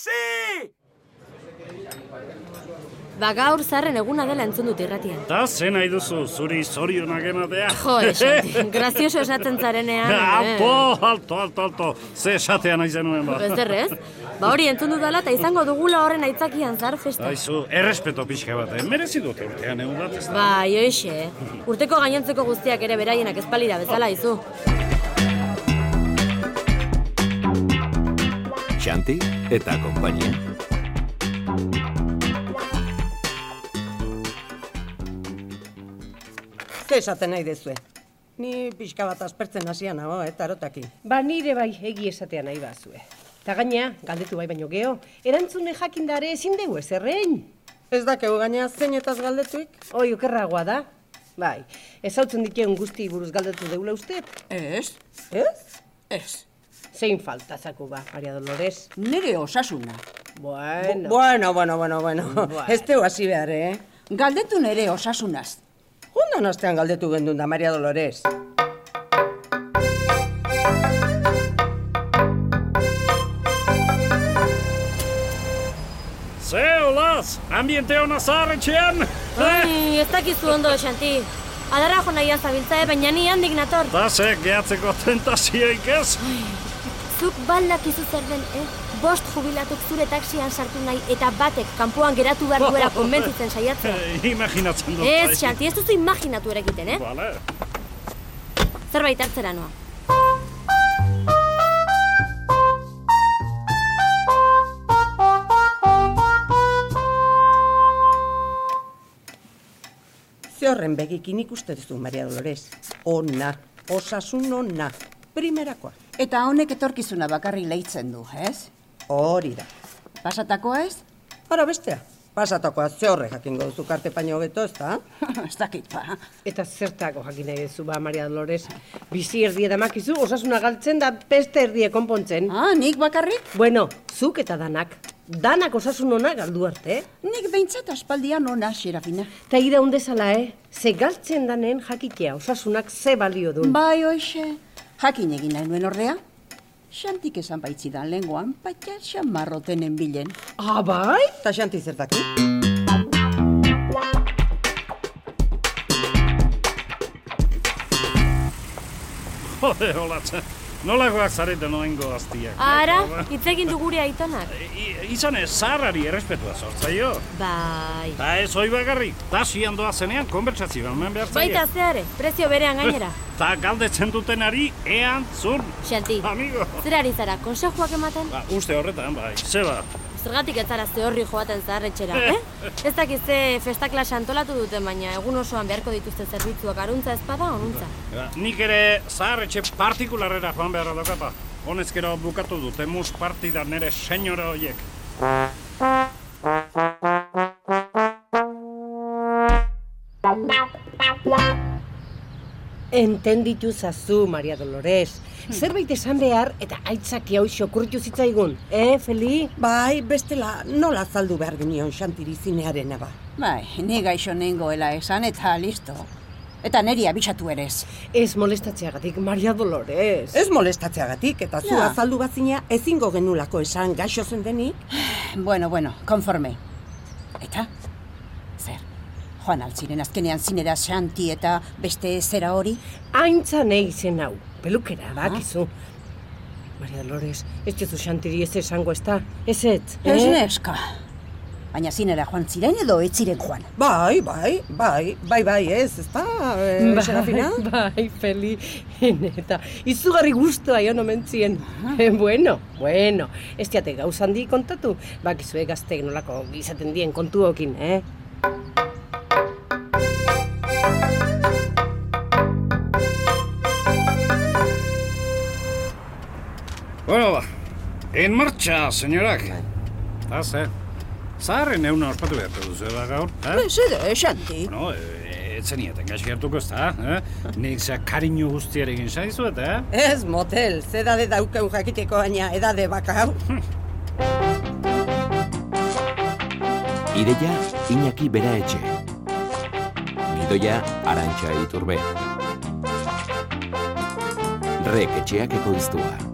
Taxi! Ba gaur zarren eguna dela entzun dut irratian. Eta zen nahi duzu, zuri zorionak ematea. Jo, esan, grazioso esatzen zarenean. eh. Alto, alto, alto, alto. Ze esatea nahi zenuen ba. Ez derrez? Ba hori entzun dudala eta izango dugula horren aitzakian zar festa. Aizu, errespeto pixka bat, eh? merezi dute urtean egun bat, ez da? Ba, joixe, urteko gainontzeko guztiak ere beraienak espalira bezala izu. Xanti eta konpainia. Ze esaten nahi dezue? Ni pixka bat aspertzen hasia nago, eh, tarotaki. Ba nire bai egi esatea nahi bazue. Ta gaina, galdetu bai baino geho, erantzune jakindare ezin dugu ezerrein. Ez dakeu gaina zeinetaz galdetuik? Oi, okerragoa da. Bai, ezautzen diteun guzti buruz galdetu deula uste, Ez, Ez? ez. zein falta zaku ba, Maria Dolores. Nire osasuna. Bueno, Bueno, bueno, bueno, bueno. Ez teu hasi behar, eh? Galdetu nire osasunaz. Jundan astean galdetu gendun da, Maria Dolores. Ze, olaz, ambiente hona zaharretxean! Eh? Ai, ez dakizu ondo esanti. Adarra jo nahian zabiltza, eh, baina ni handik nator. Eta ze, gehatzeko tentazioik ez? Zuk baldakizu zer den, eh? Bost jubilatuk zure taksian sartu nahi eta batek kanpoan geratu behar duela konbentzitzen saiatzea. Eh, Imaginatzen dut. Ez, Xanti, ez duzu imaginatu ere egiten, eh? Bale. Zerbait hartzera noa. Ze horren begikin ikusten duzu, Maria Dolores. Ona, osasun ona, primerakoa. Eta honek etorkizuna bakarrik leitzen du, ez? Hori da. Pasatakoa ez? Ara bestea, pasatakoa ze horre jakingo duzu karte paino hobeto, ez da? ez dakit ba. eta zertako jakin nahi duzu ba, Maria Dolores. Bizi erdi edamakizu, osasuna galtzen da beste erdie konpontzen. Ah, nik bakarrik? Bueno, zuk eta danak. Danak osasun ona galdu arte, eh? Nik behintzat aspaldian ona, xerafina. Ta iraun dezala, eh? Ze galtzen danen jakitea osasunak ze balio duen. Bai, hoxe. Jakin egin nahi nuen ordea. Xantik esan baitzidan lenguan, patxat xamarrotenen bilen. Ah, bai? Eta xanti zertaki. Jode, olatz, nolakoak zareten oengo aztiak. ba, eh, Ara, hitz egin du gure aitonak. I, izan ez, zaharrari errespetua sortzaio. Bai. Ta ez hoi bakarrik, tasian doa zenean, konbertsazioa eman behar zaie. Baita zeare, prezio berean gainera. Ta galdetzen dutenari, ean, zun, Xanti, amigo. zer ari zara, konsejuak ematen? Ba, uste horretan, bai, zeba. Zergatik ez zara ze horri joaten zaharretxera, eh? Ez dakiz ze festaklas antolatu duten, baina egun osoan beharko dituzte zerbitzuak aruntza ezpada onuntza. Ba, nik ere zaharretxe partikularrera joan beharra dokapa. Honezkero bukatu dut, emus partida nere senyora hoiek. Entenditu zazu, Maria Dolores. Hmm. Zerbait esan behar eta aitzaki hau xokurritu zitzaigun. Eh, Feli? Bai, bestela nola azaldu behar genion xantiri zinearena ba. Bai, ni gaixo nengoela esan eta listo. Eta neri abisatu ere ez. Ez molestatzeagatik, Maria Dolores. Ez molestatzeagatik, eta zu Ja. azaldu bazina ezingo genulako esan gaixo zen denik. Bueno, bueno, konforme. Eta? Zer? Joan altziren azkenean zinera xanti eta beste zera hori? Aintza nahi izen hau. Pelukera, Ah. bakizu. Maria Dolores, ez jozu xantiri ez esango ez da. Ez eh? ez, Ez Eh? neska. Baina zinera joan ziren edo ez ziren joan. Bai, bai, bai, bai, bai, ez, ez da, eh, Serafina? bai, Feli, neta, izugarri guztua joan omentzien. Ah. Eh, bueno, bueno, ez diate gauz handi kontatu, bakizue gazteek nolako izaten dien kontuokin, eh? Bueno, ba, en marcha, senyorak. Ta ze, zaharren euna ospatu behar duzu, eba gaur, eh? Zer, xanti? Bueno, e, etzenieten gaxi hartuko ez da, eh? Nik ze kariño guztiarekin saizu eta, eh? Ez, motel, zedade daukau jakiteko baina edade bakau. Ideia Iñaki Bera Etxe. Gidoia Arantxa Iturbea. Rek etxeak ekoiztua.